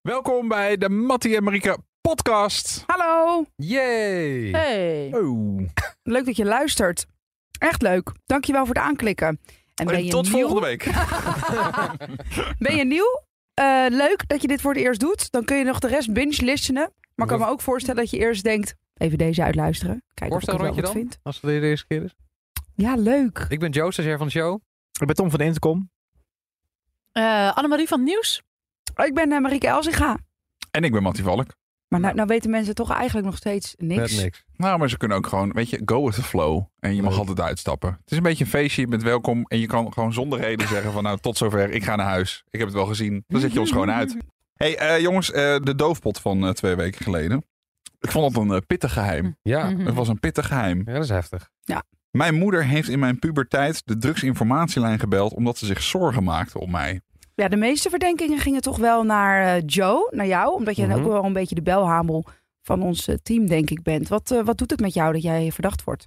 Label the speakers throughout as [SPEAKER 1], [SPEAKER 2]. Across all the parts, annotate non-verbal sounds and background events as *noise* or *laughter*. [SPEAKER 1] Welkom bij de Mattie en Marieke podcast.
[SPEAKER 2] Hallo.
[SPEAKER 1] Yay!
[SPEAKER 2] Hey.
[SPEAKER 1] Oh.
[SPEAKER 2] Leuk dat je luistert. Echt leuk. Dankjewel voor het aanklikken. En ben je
[SPEAKER 1] tot
[SPEAKER 2] nieuw?
[SPEAKER 1] volgende
[SPEAKER 2] *laughs*
[SPEAKER 1] week.
[SPEAKER 2] Ben je nieuw? Eh, leuk dat je dit voor het eerst doet. Dan kun je nog de rest binge listenen. Maar ik kan me ook voorstellen dat je eerst denkt... Even deze uitluisteren. Kijken of ik het wel
[SPEAKER 3] Voorstelrondje
[SPEAKER 2] wat
[SPEAKER 3] dan?
[SPEAKER 2] vind.
[SPEAKER 3] Als het de eerste keer is.
[SPEAKER 2] Ja, leuk.
[SPEAKER 3] Ik ben Joost, stagiair van de show.
[SPEAKER 4] Ik ben Tom van de Intercom.
[SPEAKER 5] Eh Annemarie van het Nieuws.
[SPEAKER 2] Ik ben eh, Marieke Elsinga.
[SPEAKER 1] En ik ben Mattie Valk.
[SPEAKER 2] Maar nou, nou weten mensen toch eigenlijk nog steeds niks.
[SPEAKER 1] Nou, maar ze kunnen ook gewoon, weet je, go with the flow. En je mag altijd uitstappen. Het is een beetje een feestje, je bent welkom. En je kan gewoon zonder reden zeggen van nou, tot zover, ik ga naar huis. Ik heb het wel gezien. Dan zet je ons gewoon uit. hey, eh, jongens, eh, de doofpot van eh, twee weken geleden. Ik vond het een eh, pittig geheim.
[SPEAKER 3] Ja.
[SPEAKER 5] Mhm.
[SPEAKER 1] Het was een pittig geheim.
[SPEAKER 3] ja, dat is heftig.
[SPEAKER 1] Mijn moeder heeft in mijn puberteit de drugsinformatielijn gebeld omdat ze zich zorgen maakte om mij.
[SPEAKER 2] Ja, de meeste verdenkingen gingen toch wel naar eh, Joe, naar jou. Omdat jij
[SPEAKER 3] Mhm.
[SPEAKER 2] ook wel een beetje de belhamel van ons eh, team, denk ik, bent. Wat, eh, wat doet het met jou dat jij verdacht wordt?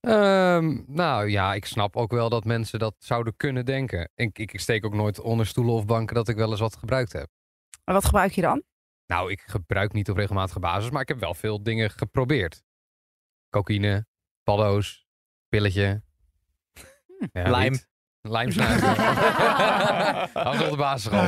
[SPEAKER 3] Ehm, nou ja, ik snap ook wel dat mensen dat zouden kunnen denken. Ik, ik, ik steek ook nooit onder stoelen of banken dat ik wel eens wat gebruikt heb.
[SPEAKER 2] Maar wat gebruik je dan?
[SPEAKER 3] Nou, ik gebruik niet op regelmatige basis, maar ik heb wel veel dingen geprobeerd. Cocaïne, paddo's, pilletje.
[SPEAKER 5] Hm.
[SPEAKER 3] Ja,
[SPEAKER 4] Lijm.
[SPEAKER 3] wiet.
[SPEAKER 5] *laughs*
[SPEAKER 3] Lijmsnuiven.
[SPEAKER 1] *laughs*
[SPEAKER 3] dat was op de basisschool.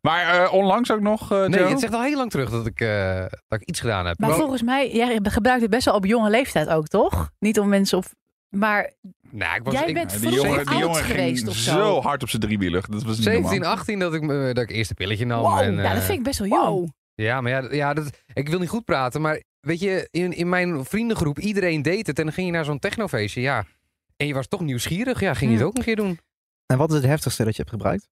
[SPEAKER 1] Maar eh, onlangs ook nog, eh,
[SPEAKER 3] Nee,
[SPEAKER 1] Joe?
[SPEAKER 3] het zegt al heel lang terug dat ik, eh, dat ik iets gedaan heb.
[SPEAKER 5] Maar
[SPEAKER 1] Wel-
[SPEAKER 5] volgens mij, jij gebruikt het best wel op jonge leeftijd ook, toch? Niet om mensen op... Maar
[SPEAKER 3] Nou, ik was,
[SPEAKER 5] Jij
[SPEAKER 3] ik-
[SPEAKER 5] bent
[SPEAKER 1] Ja,
[SPEAKER 5] vroeg
[SPEAKER 1] ging
[SPEAKER 5] oud geweest of zo.
[SPEAKER 1] zo hard op zijn driewielig. Dat was niet
[SPEAKER 3] 17,
[SPEAKER 1] normaal.
[SPEAKER 3] 18 dat ik, me- dat ik eerst een pilletje
[SPEAKER 1] Nou,
[SPEAKER 3] nam.
[SPEAKER 2] Wow,
[SPEAKER 3] en,
[SPEAKER 5] ja, nou, dat
[SPEAKER 3] eh,
[SPEAKER 5] vind ik best wel jong. *laughs*
[SPEAKER 3] Ja, maar ja, d- ja dat, ik wil niet goed praten, maar weet je, in, in mijn vriendengroep, iedereen deed het. En dan ging je naar zo'n technofeestje, ja. En je was toch nieuwsgierig, ja, ging je het ook een keer doen.
[SPEAKER 4] En wat is het heftigste dat je hebt gebruikt?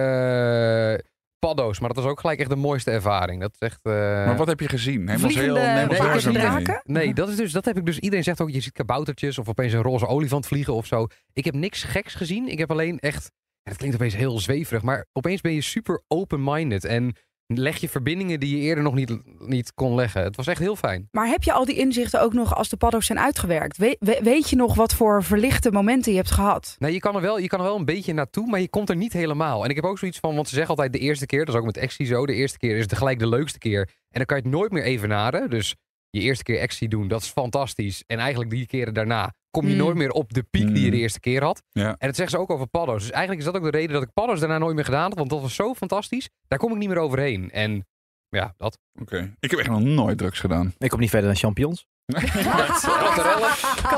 [SPEAKER 3] Eh, paddo's, maar dat was ook gelijk echt de mooiste ervaring. Dat is echt... eh,
[SPEAKER 1] Maar wat heb je gezien? Neem ons heel,
[SPEAKER 2] Vliegende
[SPEAKER 1] neem ons
[SPEAKER 3] nee,
[SPEAKER 1] daar zo mee.
[SPEAKER 2] draken?
[SPEAKER 3] Nee, dat, is dus, dat heb ik dus... Iedereen zegt ook, je ziet kaboutertjes of opeens een roze olifant vliegen of zo. Ik heb niks geks gezien. Ik heb alleen echt... ja, dat klinkt opeens heel zweverig, maar opeens ben je super open-minded. En leg je verbindingen die je eerder nog niet, niet kon leggen. Het was echt heel fijn.
[SPEAKER 2] Maar heb je al die inzichten ook nog als de paddo's zijn uitgewerkt? We- we- weet je nog wat voor verlichte momenten je hebt gehad?
[SPEAKER 3] Nou, je kan, er wel, je kan er wel een beetje naartoe, maar je komt er niet helemaal. En ik heb ook zoiets van, want ze zeggen altijd de eerste keer, dat is ook met actie zo, de eerste keer is de gelijk de leukste keer. En dan kan je het nooit meer evenaren. Dus je eerste keer actie doen, dat is fantastisch. En eigenlijk die keren daarna kom je
[SPEAKER 2] Mm.
[SPEAKER 3] nooit meer op de piek die je de
[SPEAKER 1] Mm.
[SPEAKER 3] eerste keer had.
[SPEAKER 1] Hmm. Ja.
[SPEAKER 3] En dat zeggen ze ook over paddo's. Dus eigenlijk is dat ook de reden dat ik paddo's daarna nooit meer gedaan had, want dat was zo fantastisch. Daar kom ik niet meer overheen. En ja, dat.
[SPEAKER 1] Oké. Ik heb echt nog nooit drugs gedaan.
[SPEAKER 4] Ik kom niet verder dan
[SPEAKER 1] *laughs*
[SPEAKER 4] champignons.
[SPEAKER 3] Kantarellen.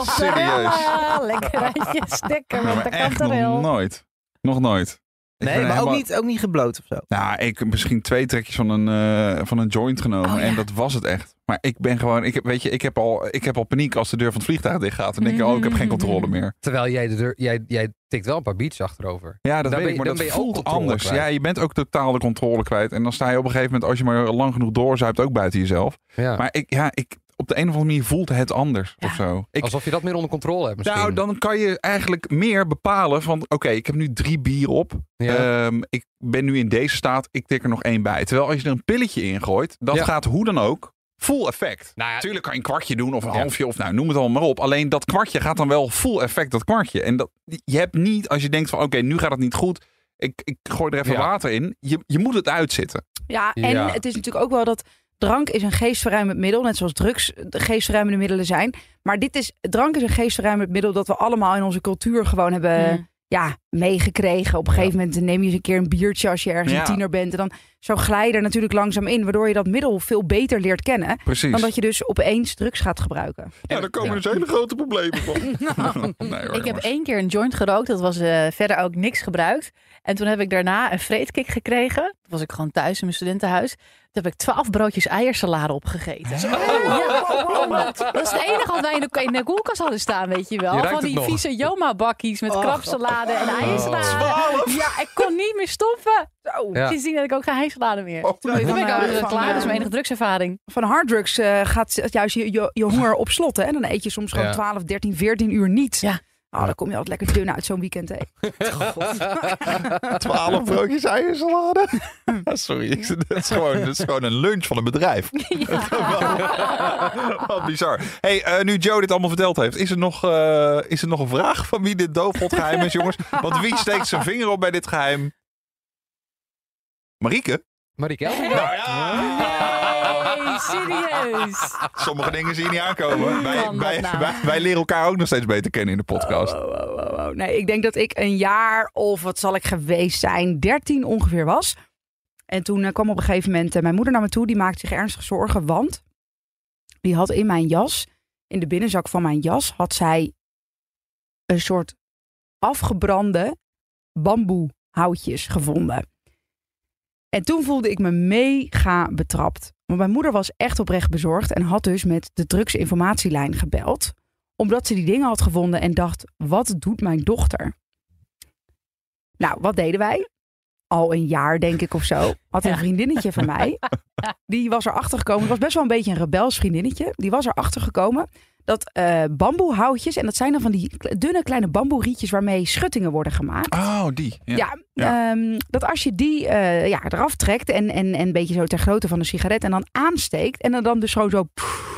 [SPEAKER 1] Serieus.
[SPEAKER 5] Ah, *laughs* lekker aan je stekker
[SPEAKER 1] Ja,
[SPEAKER 5] met
[SPEAKER 1] maar
[SPEAKER 5] de
[SPEAKER 1] echt nog
[SPEAKER 5] kantarel.
[SPEAKER 1] nooit. Nog nooit. Ik ben
[SPEAKER 4] Nee, maar
[SPEAKER 1] helemaal-
[SPEAKER 4] ook, niet, ook niet gebloot of zo.
[SPEAKER 1] Nou, ik heb misschien twee trekjes van een, eh, van een joint genomen.
[SPEAKER 5] Oh, ja.
[SPEAKER 1] En dat was het echt. Maar ik ben gewoon... Ik heb, weet je, ik heb, al, ik heb al paniek als de deur van het vliegtuig dicht gaat. En denk ik, oh, ik heb
[SPEAKER 5] *laughs*
[SPEAKER 1] geen controle meer.
[SPEAKER 3] Terwijl jij, de deur, jij, jij tikt wel een paar beats achterover.
[SPEAKER 1] Ja, dat weet
[SPEAKER 3] Dan ben
[SPEAKER 1] ik,
[SPEAKER 3] je-
[SPEAKER 1] maar dat
[SPEAKER 3] dan ben je ook
[SPEAKER 1] voelt
[SPEAKER 3] controle
[SPEAKER 1] anders.
[SPEAKER 3] kwijt.
[SPEAKER 1] Ja, je bent ook totaal de controle kwijt. En dan sta je op een gegeven moment, als je maar lang genoeg doorzuipt, ook buiten jezelf.
[SPEAKER 3] Ja.
[SPEAKER 1] Maar ik, ja, ik, op de een of andere manier voelt het anders of zo. Ik,
[SPEAKER 3] Alsof je dat meer onder controle hebt misschien.
[SPEAKER 1] nou, dan kan je eigenlijk meer bepalen van, oké, ik heb nu drie bier op.
[SPEAKER 3] Ja.
[SPEAKER 1] Ehm, ik ben nu in deze staat, ik tik er nog één bij. Terwijl als je er een pilletje in gooit, dat
[SPEAKER 3] Ja.
[SPEAKER 1] gaat hoe dan ook full effect.
[SPEAKER 3] Nou ja,
[SPEAKER 1] Natuurlijk kan je een kwartje doen of een
[SPEAKER 3] Ja.
[SPEAKER 1] halfje of nou, noem het allemaal maar op. Alleen dat kwartje gaat dan wel full effect, dat kwartje. En dat, je hebt niet, als je denkt van oké, nu gaat het niet goed. Ik, ik gooi er even
[SPEAKER 3] Ja.
[SPEAKER 1] water in. Je, je moet het uitzitten.
[SPEAKER 2] Ja, en
[SPEAKER 3] Ja.
[SPEAKER 2] het is natuurlijk ook wel dat drank is een geestverruimend middel. Net zoals drugs de geestverruimende middelen zijn. Maar dit is, drank is een geestverruimend middel dat we allemaal in onze cultuur gewoon hebben...
[SPEAKER 5] Hmm.
[SPEAKER 2] ja, meegekregen. Op een
[SPEAKER 1] Ja.
[SPEAKER 2] gegeven moment neem je eens een keer een biertje als je ergens
[SPEAKER 1] Ja.
[SPEAKER 2] een tiener bent. En dan zo glij je er natuurlijk langzaam in, waardoor je dat middel veel beter leert kennen.
[SPEAKER 1] Precies.
[SPEAKER 2] Dan dat je dus opeens drugs gaat gebruiken.
[SPEAKER 1] Ja, daar komen
[SPEAKER 3] Ja.
[SPEAKER 1] dus hele grote problemen van. *laughs* nee, hoor,
[SPEAKER 5] Ik heb
[SPEAKER 1] jongens.
[SPEAKER 5] één keer een joint gerookt. Dat was eh, verder ook niks gebruikt. En toen heb ik daarna een vreedkick gekregen. Toen was ik gewoon thuis in mijn studentenhuis. Toen heb ik twaalf broodjes eiersalade opgegeten.
[SPEAKER 3] Oh,
[SPEAKER 5] Ja, dat is het enige wat wij in de, in de koelkast hadden staan, weet je
[SPEAKER 3] Je
[SPEAKER 5] wel.
[SPEAKER 3] ruikt
[SPEAKER 5] Van
[SPEAKER 3] het
[SPEAKER 5] die
[SPEAKER 3] nog.
[SPEAKER 5] vieze Joma-bakkies met krabsalade en eiersalade. Ja, ik kon niet meer stoppen.
[SPEAKER 2] Zo.
[SPEAKER 3] Ja.
[SPEAKER 5] Sindsdien heb ik ook geen eiersalade meer.
[SPEAKER 1] Oh,
[SPEAKER 2] Terwijl je
[SPEAKER 5] Toen ben
[SPEAKER 2] eh,
[SPEAKER 5] ik alweer klaar.
[SPEAKER 2] eh,
[SPEAKER 5] Dat is mijn enige drugservaring.
[SPEAKER 2] van harddrugs eh, gaat z- juist je, je, je honger op slot. Hè? Dan eet je soms gewoon
[SPEAKER 3] Ja.
[SPEAKER 2] 12, 13, 14 uur niets.
[SPEAKER 5] Ja.
[SPEAKER 2] Oh, dan kom je altijd lekker dun uit zo'n weekend. Hè?
[SPEAKER 3] *laughs*
[SPEAKER 1] *laughs* Twaalf broodjes eiersalade. *laughs* Sorry, ik- dat is, gewoon, dat is gewoon een lunch van een bedrijf. *laughs* Wat- Wat bizar. Hey, eh, nu Joe dit allemaal verteld heeft, is er nog, eh, is er nog een vraag van wie dit doofpot geheim is, jongens? Want wie steekt zijn vinger op bij dit geheim? Marieke?
[SPEAKER 3] Marie Kelvin.
[SPEAKER 1] Nou
[SPEAKER 5] *laughs*
[SPEAKER 1] ja.
[SPEAKER 5] Nee, serieus.
[SPEAKER 1] Sommige dingen zie je niet aankomen. Wij,
[SPEAKER 5] Kan dat
[SPEAKER 1] wij,
[SPEAKER 5] nou?
[SPEAKER 1] wij, wij leren elkaar ook nog steeds beter kennen in de podcast.
[SPEAKER 2] Oh, oh, oh, oh. Nee, ik denk dat ik een jaar of wat zal ik geweest zijn, 13 ongeveer was. En toen eh, kwam op een gegeven moment eh, mijn moeder naar me toe. Die maakte zich ernstig zorgen, want die had in mijn jas, in de binnenzak van mijn jas, had zij een soort afgebrande bamboehoutjes gevonden. En toen voelde ik me mega betrapt. Want mijn moeder was echt oprecht bezorgd en had dus met de drugsinformatielijn gebeld omdat ze die dingen had gevonden en dacht: wat doet mijn dochter? Nou, wat deden wij? Al een jaar, denk ik of zo, had een
[SPEAKER 5] Ja.
[SPEAKER 2] vriendinnetje van mij. Die was erachter gekomen. Het was best wel een beetje een rebels vriendinnetje. Die was erachter gekomen dat eh, bamboehoutjes, en dat zijn dan van die kle- dunne kleine bamboerietjes waarmee schuttingen worden gemaakt.
[SPEAKER 1] Oh, die. Ja.
[SPEAKER 2] Ja, ehm, dat als je die eh, ja, eraf trekt en, en, en een beetje zo ter grootte van een sigaret en dan aansteekt en dan, dan dus gewoon zo, pff,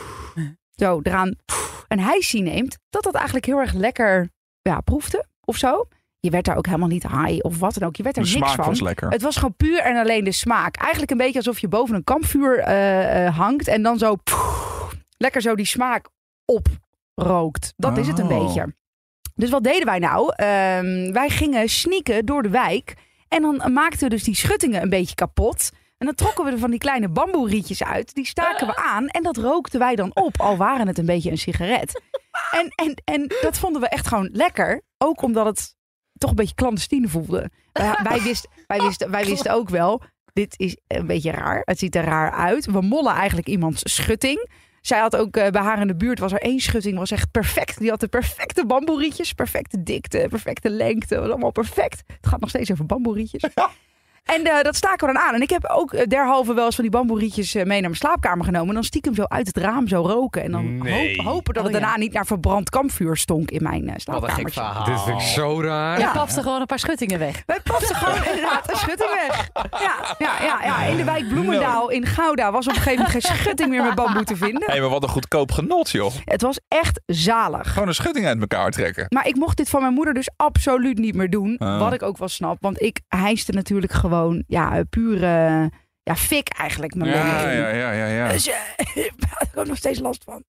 [SPEAKER 2] zo eraan pff, een hijsie neemt, dat dat eigenlijk heel erg lekker ja, proefde of zo. Je werd daar ook helemaal niet high of wat dan ook. Je werd er
[SPEAKER 1] De
[SPEAKER 2] niks
[SPEAKER 1] smaak
[SPEAKER 2] van.
[SPEAKER 1] was lekker.
[SPEAKER 2] Het was gewoon puur en alleen de smaak. Eigenlijk een beetje alsof je boven een kampvuur eh, eh, hangt en dan zo pff, lekker zo die smaak oprookt. Dat is het een
[SPEAKER 1] Oh.
[SPEAKER 2] beetje. Dus wat deden wij nou? Ehm, wij gingen sneaken door de wijk en dan maakten we dus die schuttingen een beetje kapot. En dan trokken we er van die kleine bamboerietjes uit. Die staken we aan en dat rookten wij dan op, al waren het een beetje een sigaret. En, en, en dat vonden we echt gewoon lekker. Ook omdat het toch een beetje clandestien voelde. Wij, wij, wist, wij,
[SPEAKER 3] Oh,
[SPEAKER 2] wisten, wij wisten ook wel, dit is een beetje raar. Het ziet er raar uit. We mollen eigenlijk iemands schutting. Zij had ook eh, bij haar in de buurt, was er één schutting, was echt perfect. Die had de perfecte bamboerietjes, perfecte dikte, perfecte lengte. was allemaal perfect. Het gaat nog steeds over bamboerietjes. En eh, dat staken we dan aan. En ik heb ook eh, derhalve wel eens van die bamboerietjes eh, mee naar mijn slaapkamer genomen. En dan stiekem zo uit het raam zo roken. En dan
[SPEAKER 3] Nee.
[SPEAKER 2] hoop- hopen dat het
[SPEAKER 5] Oh, ja.
[SPEAKER 2] daarna niet naar verbrand kampvuur stonk in mijn eh
[SPEAKER 3] Wat een gek
[SPEAKER 2] slaapkamer.
[SPEAKER 3] verhaal. Dit vind ik zo raar.
[SPEAKER 5] Je papte gewoon een paar schuttingen weg.
[SPEAKER 2] Wij papten gewoon inderdaad een schutting weg. Ja, ja, ja, ja, in de wijk Bloemendaal in Gouda was op een gegeven moment geen schutting meer met bamboe te vinden.
[SPEAKER 1] hey, maar wat een goedkoop genot, joh.
[SPEAKER 2] Het was echt zalig.
[SPEAKER 1] Gewoon een schutting uit elkaar trekken.
[SPEAKER 2] Maar ik mocht dit van mijn moeder dus absoluut niet meer doen.
[SPEAKER 1] Ah.
[SPEAKER 2] Wat ik ook wel snap. Want ik hijste natuurlijk gewoon ja, pure ja, fik eigenlijk. Mijn longen
[SPEAKER 1] Ja,
[SPEAKER 2] in.
[SPEAKER 1] ja, ja, ja,
[SPEAKER 2] *laughs*
[SPEAKER 1] ja.
[SPEAKER 2] Dus eh, ik had er ook nog steeds last van.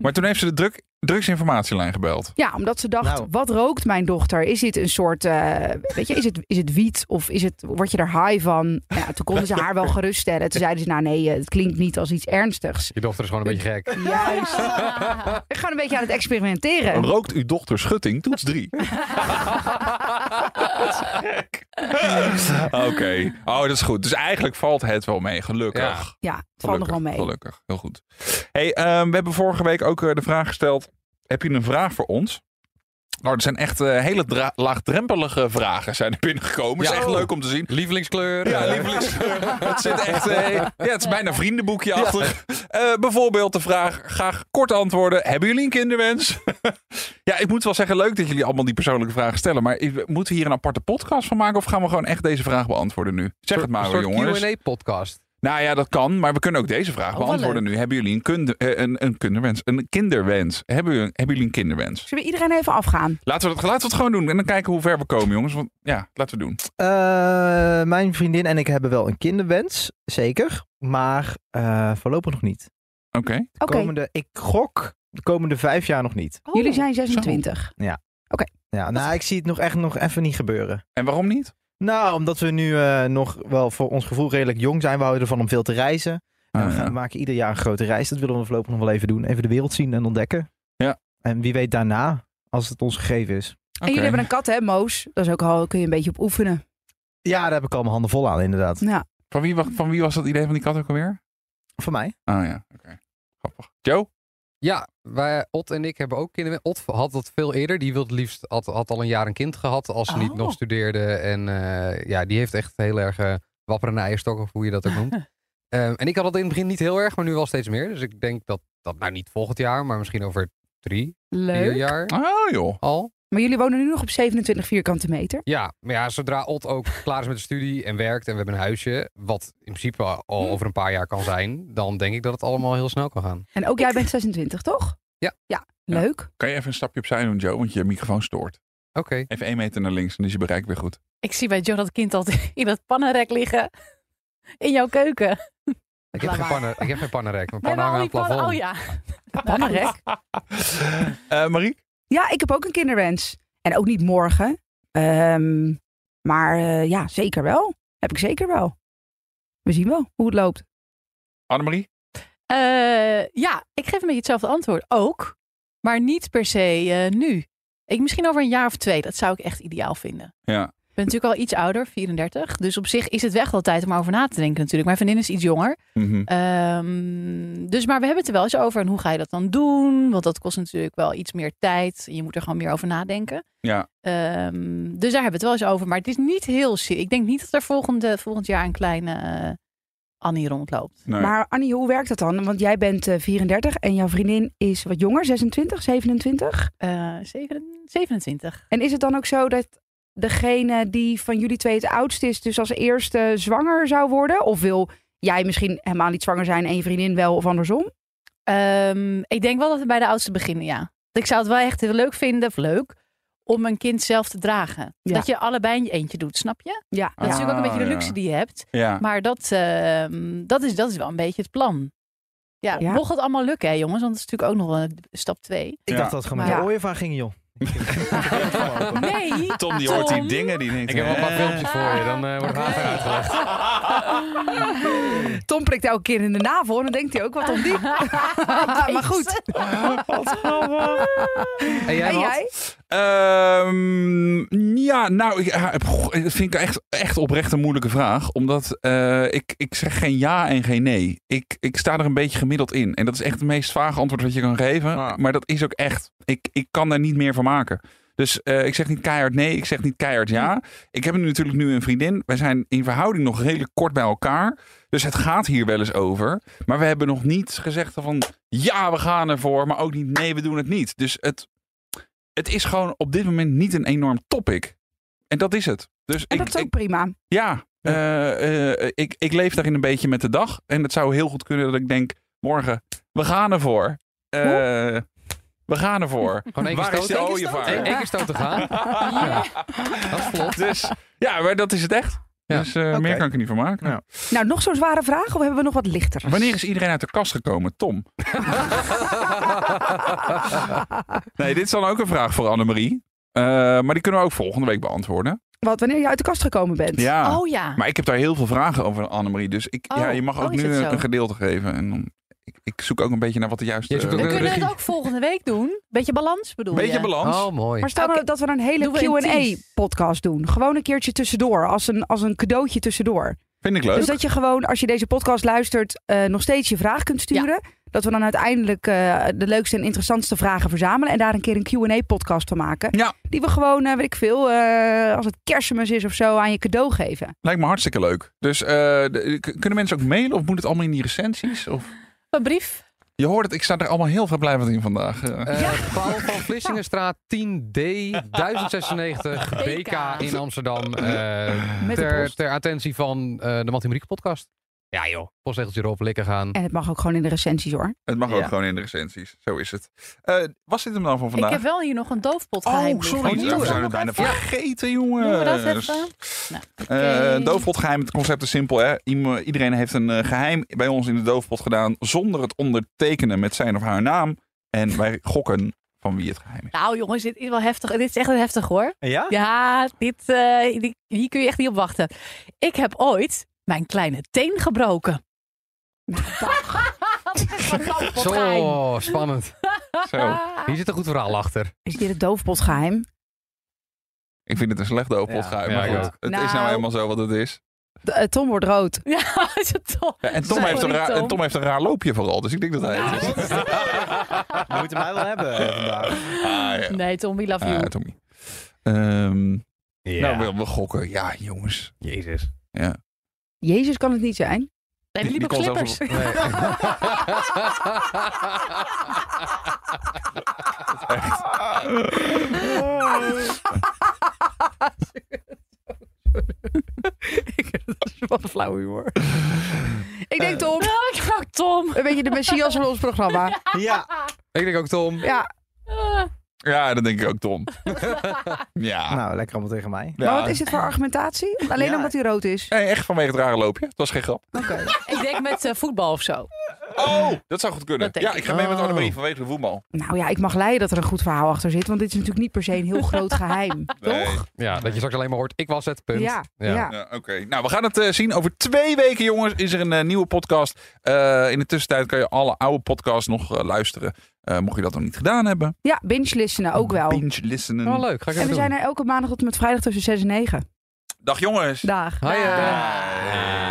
[SPEAKER 1] Maar toen heeft ze de druk, drugsinformatielijn gebeld.
[SPEAKER 2] Ja, omdat ze dacht,
[SPEAKER 4] Nou.
[SPEAKER 2] wat rookt mijn dochter? Is dit een soort, eh, weet je, is het, is het wiet of is het, word je er high van? Ja, toen konden ze haar wel geruststellen. Toen zeiden ze, nou nee, eh, het klinkt niet als iets ernstigs.
[SPEAKER 3] Je dochter is gewoon een beetje gek.
[SPEAKER 2] Juist. Ik ga een beetje aan het experimenteren.
[SPEAKER 1] Rookt uw dochter schutting? Toets
[SPEAKER 2] *laughs*
[SPEAKER 1] 3.
[SPEAKER 5] Oh.
[SPEAKER 1] Oké. Oh, dat is goed. Dus eigenlijk valt het wel mee, gelukkig.
[SPEAKER 3] Ja.
[SPEAKER 2] Ja, het valt
[SPEAKER 1] Gelukkig,
[SPEAKER 2] nog wel mee.
[SPEAKER 1] Gelukkig, heel goed. Hey, ehm, we hebben vorige week ook eh, de vraag gesteld: heb je een vraag voor ons? Nou, er zijn echt eh, hele dra- laagdrempelige vragen zijn er binnengekomen. Het is
[SPEAKER 3] Ja.
[SPEAKER 1] echt leuk om te zien.
[SPEAKER 3] Lievelingskleur.
[SPEAKER 1] Ja,
[SPEAKER 3] eh,
[SPEAKER 1] lievelings. het zit echt. eh, ja, het is bijna vriendenboekje achter. Eh, bijvoorbeeld de vraag: graag kort antwoorden. Hebben jullie een kinderwens? *laughs* ja, ik moet wel zeggen, leuk dat jullie allemaal die persoonlijke vragen stellen. Maar ik- moeten we hier een aparte podcast van maken? Of gaan we gewoon echt deze vraag beantwoorden nu? Zeg het maar,
[SPEAKER 3] Een soort
[SPEAKER 1] jongens.
[SPEAKER 3] Q&A-podcast.
[SPEAKER 1] Nou ja, dat kan. Maar we kunnen ook deze vraag
[SPEAKER 5] Oh, wel
[SPEAKER 1] beantwoorden nu. Hebben jullie een, kunde, eh, een, een kinderwens? Een kinderwens? Hebben jullie, hebben jullie een kinderwens?
[SPEAKER 2] Zullen we iedereen even afgaan?
[SPEAKER 1] Laten we, dat, laten we het gewoon doen. En dan kijken hoe ver we komen, jongens. Want ja, laten we het doen.
[SPEAKER 4] Eh, mijn vriendin en ik hebben wel een kinderwens, zeker. Maar eh, voorlopig nog niet.
[SPEAKER 1] Oké.
[SPEAKER 4] De
[SPEAKER 2] Oké,
[SPEAKER 4] komende, ik gok de komende vijf jaar nog niet.
[SPEAKER 5] Oh.
[SPEAKER 2] jullie zijn 26.
[SPEAKER 4] Ja, nou, ik zie het nog echt nog even niet gebeuren.
[SPEAKER 1] En waarom niet?
[SPEAKER 4] Nou, omdat we nu eh, nog wel voor ons gevoel redelijk jong zijn. We houden ervan om veel te reizen. En
[SPEAKER 1] Ah,
[SPEAKER 4] we, gaan-
[SPEAKER 1] ja.
[SPEAKER 4] we maken ieder jaar een grote reis. Dat willen we voorlopig nog wel even doen. Even de wereld zien en ontdekken.
[SPEAKER 1] Ja.
[SPEAKER 4] En wie weet daarna, als het ons gegeven is.
[SPEAKER 2] En
[SPEAKER 1] Oké.
[SPEAKER 2] jullie hebben een kat, hè, Moos? Dat is ook al, kun je een beetje op oefenen.
[SPEAKER 4] Ja, daar heb ik al mijn handen vol aan, inderdaad.
[SPEAKER 2] Ja.
[SPEAKER 1] Van wie, wa- van wie was dat idee van die kat ook alweer?
[SPEAKER 4] Voor mij.
[SPEAKER 1] Ah ja, oké. Grappig. Joe?
[SPEAKER 3] Ja, wij, Ot en ik hebben ook kinderen. Ot had dat veel eerder. Die wilde het liefst, had, had al een jaar een kind gehad als ze niet
[SPEAKER 5] Oh.
[SPEAKER 3] nog studeerde. En eh, ja, die heeft echt heel erg eh wapperende eierstok, of hoe je dat ook noemt. Ehm, en ik had dat in het begin niet heel erg, maar nu wel steeds meer. Dus ik denk dat dat nou niet volgend jaar, maar misschien over drie, vier
[SPEAKER 2] Leuk.
[SPEAKER 3] jaar
[SPEAKER 1] Ah joh.
[SPEAKER 3] al.
[SPEAKER 2] Maar jullie wonen nu nog op 27 vierkante meter.
[SPEAKER 3] Ja, maar ja, zodra Ot ook *laughs* klaar is met de studie en werkt en we hebben een huisje, wat in principe
[SPEAKER 2] Hm.
[SPEAKER 3] al over een paar jaar kan zijn, dan denk ik dat het allemaal heel snel kan gaan.
[SPEAKER 2] En ook jij bent 26, toch?
[SPEAKER 3] Ja.
[SPEAKER 2] Ja,
[SPEAKER 1] Ja.
[SPEAKER 2] leuk.
[SPEAKER 1] Kan je even een stapje opzij doen, Joe? Want je microfoon stoort.
[SPEAKER 3] Oké.
[SPEAKER 4] *laughs*
[SPEAKER 1] Even één meter naar links, dan is je bereik weer goed.
[SPEAKER 5] *laughs* Ik zie bij Joe dat kind altijd in dat pannenrek liggen. in jouw keuken.
[SPEAKER 3] Ik heb,
[SPEAKER 2] Laat
[SPEAKER 3] geen
[SPEAKER 2] maar.
[SPEAKER 3] pannen, ik heb geen pannenrek. Mijn
[SPEAKER 5] Nee,
[SPEAKER 3] pannen
[SPEAKER 5] maar
[SPEAKER 3] hangen aan
[SPEAKER 5] al
[SPEAKER 3] het
[SPEAKER 5] die
[SPEAKER 3] plafond.
[SPEAKER 5] pannen- Oh ja.
[SPEAKER 2] Pannenrek.
[SPEAKER 1] Eh, Marie?
[SPEAKER 2] Ja, ik heb ook een kinderwens. En ook niet morgen. Ehm, maar eh, ja, zeker wel. Heb ik zeker wel. We zien wel hoe het loopt.
[SPEAKER 1] Annemarie?
[SPEAKER 5] Eh, ja, ik geef een beetje hetzelfde antwoord. Ook, maar niet per se eh, nu. Ik, misschien over een jaar of twee. Dat zou ik echt ideaal vinden.
[SPEAKER 1] Ja.
[SPEAKER 5] Ik ben natuurlijk al iets ouder, 34. Dus op zich is het weg wel tijd om over na te denken natuurlijk. Mijn vriendin is iets jonger.
[SPEAKER 1] Mhm.
[SPEAKER 5] Ehm, dus, maar we hebben het er wel eens over. En hoe ga je dat dan doen? Want dat kost natuurlijk wel iets meer tijd. En je moet er gewoon meer over nadenken.
[SPEAKER 1] Ja.
[SPEAKER 5] Ehm, dus daar hebben we het wel eens over. Maar het is niet heel... se- Ik denk niet dat er volgende, volgend jaar een kleine eh, Annie rondloopt.
[SPEAKER 1] Nee.
[SPEAKER 2] Maar Annie, hoe werkt dat dan? Want jij bent eh, 34 en jouw vriendin is wat jonger, 26, 27.
[SPEAKER 5] Eh, zeven- 27.
[SPEAKER 2] En is het dan ook zo dat degene die van jullie twee het oudst is, dus als eerste zwanger zou worden? Of wil jij misschien helemaal niet zwanger zijn en je vriendin wel of andersom?
[SPEAKER 5] Ehm, ik denk wel dat we bij de oudste beginnen, ja. Ik zou het wel echt heel leuk vinden, of leuk, om een kind zelf te dragen.
[SPEAKER 2] Ja.
[SPEAKER 5] Dat je allebei in je eentje doet, snap je?
[SPEAKER 2] Ja,
[SPEAKER 5] Dat is
[SPEAKER 1] Ah,
[SPEAKER 5] natuurlijk ook een beetje de
[SPEAKER 1] ja.
[SPEAKER 5] luxe die je hebt.
[SPEAKER 1] Ja.
[SPEAKER 5] Maar dat, ehm, dat, is, dat is wel een beetje het plan. Ja,
[SPEAKER 2] Ja.
[SPEAKER 5] mocht het allemaal lukken, hè, jongens. Want dat is natuurlijk ook nog wel een stap
[SPEAKER 1] *laughs*
[SPEAKER 5] twee.
[SPEAKER 4] Ik
[SPEAKER 1] Ja.
[SPEAKER 4] dacht dat het gewoon
[SPEAKER 2] Maar-
[SPEAKER 4] met de ooievaar ging, joh.
[SPEAKER 5] Nee,
[SPEAKER 1] Tom die hoort die dingen die denkt...
[SPEAKER 3] Ik heb wel een paar
[SPEAKER 1] *laughs* eh,
[SPEAKER 3] filmpjes voor je. Dan eh, wordt het later uitgelegd.
[SPEAKER 2] *laughs* Tom prikt elke keer in de navel en dan denkt hij ook wat om die. maar goed.
[SPEAKER 3] En jij,
[SPEAKER 2] en
[SPEAKER 3] Matt?
[SPEAKER 2] jij?
[SPEAKER 1] Ehm, ja, nou, ik, ah, goh, dat vind ik echt, echt oprecht een moeilijke vraag. Omdat eh, ik, ik zeg geen ja en geen nee. Ik, ik sta er een beetje gemiddeld in. En dat is echt het meest vage antwoord wat je kan geven.
[SPEAKER 4] Ah.
[SPEAKER 1] Maar dat is ook echt. Ik, ik kan daar niet meer van maken. Dus eh, ik zeg niet keihard nee, ik zeg niet keihard ja. Ik heb nu natuurlijk nu een vriendin. Wij zijn in verhouding nog redelijk kort bij elkaar. Dus het gaat hier wel eens over. Maar we hebben nog niet gezegd van ja, we gaan ervoor. Maar ook niet nee, we doen het niet. Dus het, het is gewoon op dit moment niet een enorm topic. En dat is het. Dus
[SPEAKER 2] En
[SPEAKER 1] ik,
[SPEAKER 2] dat is ook
[SPEAKER 1] ik-
[SPEAKER 2] prima.
[SPEAKER 1] ja, eh, eh, ik, ik leef daarin een beetje met de dag. En het zou heel goed kunnen dat ik denk, morgen, we gaan ervoor. Eh, we gaan ervoor.
[SPEAKER 3] Gewoon één keer
[SPEAKER 1] Waar is de
[SPEAKER 3] stoten. Eén
[SPEAKER 1] ooievaar?
[SPEAKER 3] één keer stoten gaan. Dat is vlot.
[SPEAKER 1] Dus ja, maar dat is het echt.
[SPEAKER 3] Ja.
[SPEAKER 1] Dus eh,
[SPEAKER 4] Oké.
[SPEAKER 1] meer kan ik er niet van maken.
[SPEAKER 4] Ja.
[SPEAKER 2] Nou, nog zo'n zware vraag of hebben we nog wat
[SPEAKER 1] *laughs*
[SPEAKER 2] lichter?
[SPEAKER 1] Wanneer is iedereen uit de kast gekomen? Tom. nee, dit is dan ook een vraag voor Annemarie. Eh maar die kunnen we ook volgende week beantwoorden.
[SPEAKER 2] Wat, wanneer je uit de kast gekomen bent?
[SPEAKER 1] Ja.
[SPEAKER 5] Oh ja.
[SPEAKER 1] Maar ik heb daar heel veel vragen over aan Annemarie. Dus ik,
[SPEAKER 5] Oh,
[SPEAKER 1] ja, je mag
[SPEAKER 5] oh,
[SPEAKER 1] ook
[SPEAKER 5] is
[SPEAKER 1] nu
[SPEAKER 5] het zo?
[SPEAKER 1] een gedeelte geven. En dan, ik, ik zoek ook een beetje naar wat de juiste...
[SPEAKER 3] Je zoekt ook
[SPEAKER 5] We
[SPEAKER 3] een
[SPEAKER 5] kunnen het
[SPEAKER 3] regie.
[SPEAKER 5] ook volgende week doen. Beetje balans bedoel
[SPEAKER 1] beetje
[SPEAKER 5] je?
[SPEAKER 1] balans.
[SPEAKER 3] Oh, mooi.
[SPEAKER 2] Maar stel
[SPEAKER 5] Oké.
[SPEAKER 2] nou dat we een hele
[SPEAKER 5] Doen we een tease?
[SPEAKER 2] Q&A-podcast doen. Gewoon een keertje tussendoor, als een, als een cadeautje tussendoor.
[SPEAKER 1] Vind ik leuk.
[SPEAKER 2] Dus dat je gewoon, als je deze podcast luistert, eh, nog steeds je vraag kunt sturen. Dat we dan uiteindelijk eh, de leukste en interessantste vragen verzamelen. En daar een keer een Q&A-podcast van maken.
[SPEAKER 1] Ja.
[SPEAKER 2] Die we gewoon, eh, weet ik veel, eh, als het kerstmis is of zo, aan je cadeau geven.
[SPEAKER 1] Lijkt me hartstikke leuk. Dus eh, de- k- kunnen mensen ook mailen of moet het allemaal in die recensies? Of...
[SPEAKER 5] Een brief.
[SPEAKER 1] Je hoort het, ik sta er allemaal heel vrijblijvend in vandaag. Eh,
[SPEAKER 3] Eh, Paul van Vlissingenstraat 10D 1096
[SPEAKER 2] *laughs*
[SPEAKER 3] BK in Amsterdam. eh,
[SPEAKER 2] Met de
[SPEAKER 3] ter,
[SPEAKER 2] post.
[SPEAKER 3] ter attentie van eh, de Mathematieke podcast. Ja joh, postregeltje erop, likken gaan.
[SPEAKER 2] En het mag ook gewoon in de recensies hoor.
[SPEAKER 1] het mag ook
[SPEAKER 4] Ja.
[SPEAKER 1] gewoon in de recensies. Zo is het. Eh, was dit hem dan voor vandaag?
[SPEAKER 5] Ik heb wel hier nog een doofpot
[SPEAKER 1] Oh,
[SPEAKER 5] geheimbrief.
[SPEAKER 1] sorry.
[SPEAKER 5] Opnieuw.
[SPEAKER 1] we zijn het
[SPEAKER 5] Nog
[SPEAKER 1] bijna
[SPEAKER 5] even?
[SPEAKER 1] vergeten, jongen.
[SPEAKER 5] Doen we dat even? Nou,
[SPEAKER 1] Eh,
[SPEAKER 5] Oké.
[SPEAKER 1] doofpotgeheim, het concept is simpel. Hè? Iem- Iedereen heeft een eh, geheim bij ons in de doofpot gedaan zonder het ondertekenen met zijn of haar naam. En
[SPEAKER 5] *laughs*
[SPEAKER 1] wij gokken van wie het geheim is.
[SPEAKER 5] Nou jongens, dit is wel heftig. Dit is echt heftig hoor.
[SPEAKER 4] Ja?
[SPEAKER 5] Ja, dit, eh, die- hier kun je echt niet op wachten. Ik heb ooit mijn kleine teen
[SPEAKER 1] *laughs*
[SPEAKER 5] gebroken. Dat is echt
[SPEAKER 3] Zo,
[SPEAKER 5] een doofpotgeheim.
[SPEAKER 3] spannend.
[SPEAKER 1] Zo.
[SPEAKER 5] *laughs*
[SPEAKER 2] Ah.
[SPEAKER 3] Hier zit een goed verhaal achter.
[SPEAKER 2] Is dit het doofpotgeheim?
[SPEAKER 1] Ik vind het een slecht doofpotgeheim.
[SPEAKER 3] Ja,
[SPEAKER 1] maar
[SPEAKER 3] ja, ik
[SPEAKER 1] goed,
[SPEAKER 3] ook.
[SPEAKER 1] het is
[SPEAKER 2] Nou.
[SPEAKER 1] nou helemaal zo wat het is.
[SPEAKER 2] De- eh, Tom wordt rood.
[SPEAKER 5] Ja, *laughs* is het toch?
[SPEAKER 1] Ja, en, Tom
[SPEAKER 5] Sorry,
[SPEAKER 1] heeft een raar,
[SPEAKER 5] Tom. Nou.
[SPEAKER 1] en Tom heeft een raar loopje vooral, dus ik denk dat hij het is.
[SPEAKER 5] *laughs*
[SPEAKER 1] *laughs*
[SPEAKER 4] We moeten mij wel hebben eh, vandaag.
[SPEAKER 1] Ah, ja.
[SPEAKER 5] Nee, Tom, we Nou, love you.
[SPEAKER 1] Ah, Tommy. Ehm, Nou, we, we gokken. Ja, jongens.
[SPEAKER 3] Jezus.
[SPEAKER 1] Ja.
[SPEAKER 2] Jezus kan het niet zijn. *laughs*
[SPEAKER 5] nee, die
[SPEAKER 1] die- die
[SPEAKER 5] liep
[SPEAKER 1] kon
[SPEAKER 5] op
[SPEAKER 1] zelfs
[SPEAKER 5] slippers.
[SPEAKER 1] Echt.
[SPEAKER 2] Wat een flauw humor. Eh. Ik denk Tom,
[SPEAKER 5] *laughs* Nou, Tom.
[SPEAKER 1] *laughs*
[SPEAKER 2] een beetje de messias van ons programma.
[SPEAKER 4] Ja.
[SPEAKER 3] Ik denk ook
[SPEAKER 2] *laughs*
[SPEAKER 3] Tom.
[SPEAKER 2] Ja,
[SPEAKER 5] Ah,
[SPEAKER 1] *laughs* Ja, dat denk ik ook, *laughs* Tom. ja.
[SPEAKER 4] Nou, lekker allemaal tegen mij.
[SPEAKER 1] ja.
[SPEAKER 2] Maar wat is het voor argumentatie? Alleen
[SPEAKER 4] Ja.
[SPEAKER 2] omdat hij rood is.
[SPEAKER 1] Nee, echt vanwege het rare loopje. Het was geen grap.
[SPEAKER 5] Ik denk met eh, voetbal of zo.
[SPEAKER 1] Oh, dat zou goed kunnen.
[SPEAKER 5] Dat denk
[SPEAKER 1] Ja,
[SPEAKER 5] ik.
[SPEAKER 1] ik ga mee met
[SPEAKER 4] Oh.
[SPEAKER 1] Annemarie vanwege de voetbal.
[SPEAKER 2] Nou ja, ik mag leiden dat er een goed verhaal achter zit. Want dit is natuurlijk niet per se een heel groot
[SPEAKER 3] *laughs*
[SPEAKER 2] geheim.
[SPEAKER 1] Nee.
[SPEAKER 2] Toch?
[SPEAKER 3] Ja, dat je straks alleen maar hoort, ik was het, punt.
[SPEAKER 2] Ja, ja.
[SPEAKER 3] Ja.
[SPEAKER 1] Ja, Oké, nou we gaan het eh, zien. Over twee weken, jongens, is er een eh, nieuwe podcast. Eh, in de tussentijd kan je alle oude podcasts nog eh, luisteren. Eh, mocht je dat nog niet gedaan hebben.
[SPEAKER 2] Ja, binge listenen ook wel.
[SPEAKER 1] Binge listenen.
[SPEAKER 3] Wel Nou, leuk, ga ik
[SPEAKER 2] En
[SPEAKER 3] even
[SPEAKER 2] we
[SPEAKER 3] doen.
[SPEAKER 2] zijn er elke maandag tot en met vrijdag tussen 6 en 9.
[SPEAKER 1] Dag jongens.
[SPEAKER 2] Dag.
[SPEAKER 3] Hoi, eh.
[SPEAKER 1] Dag.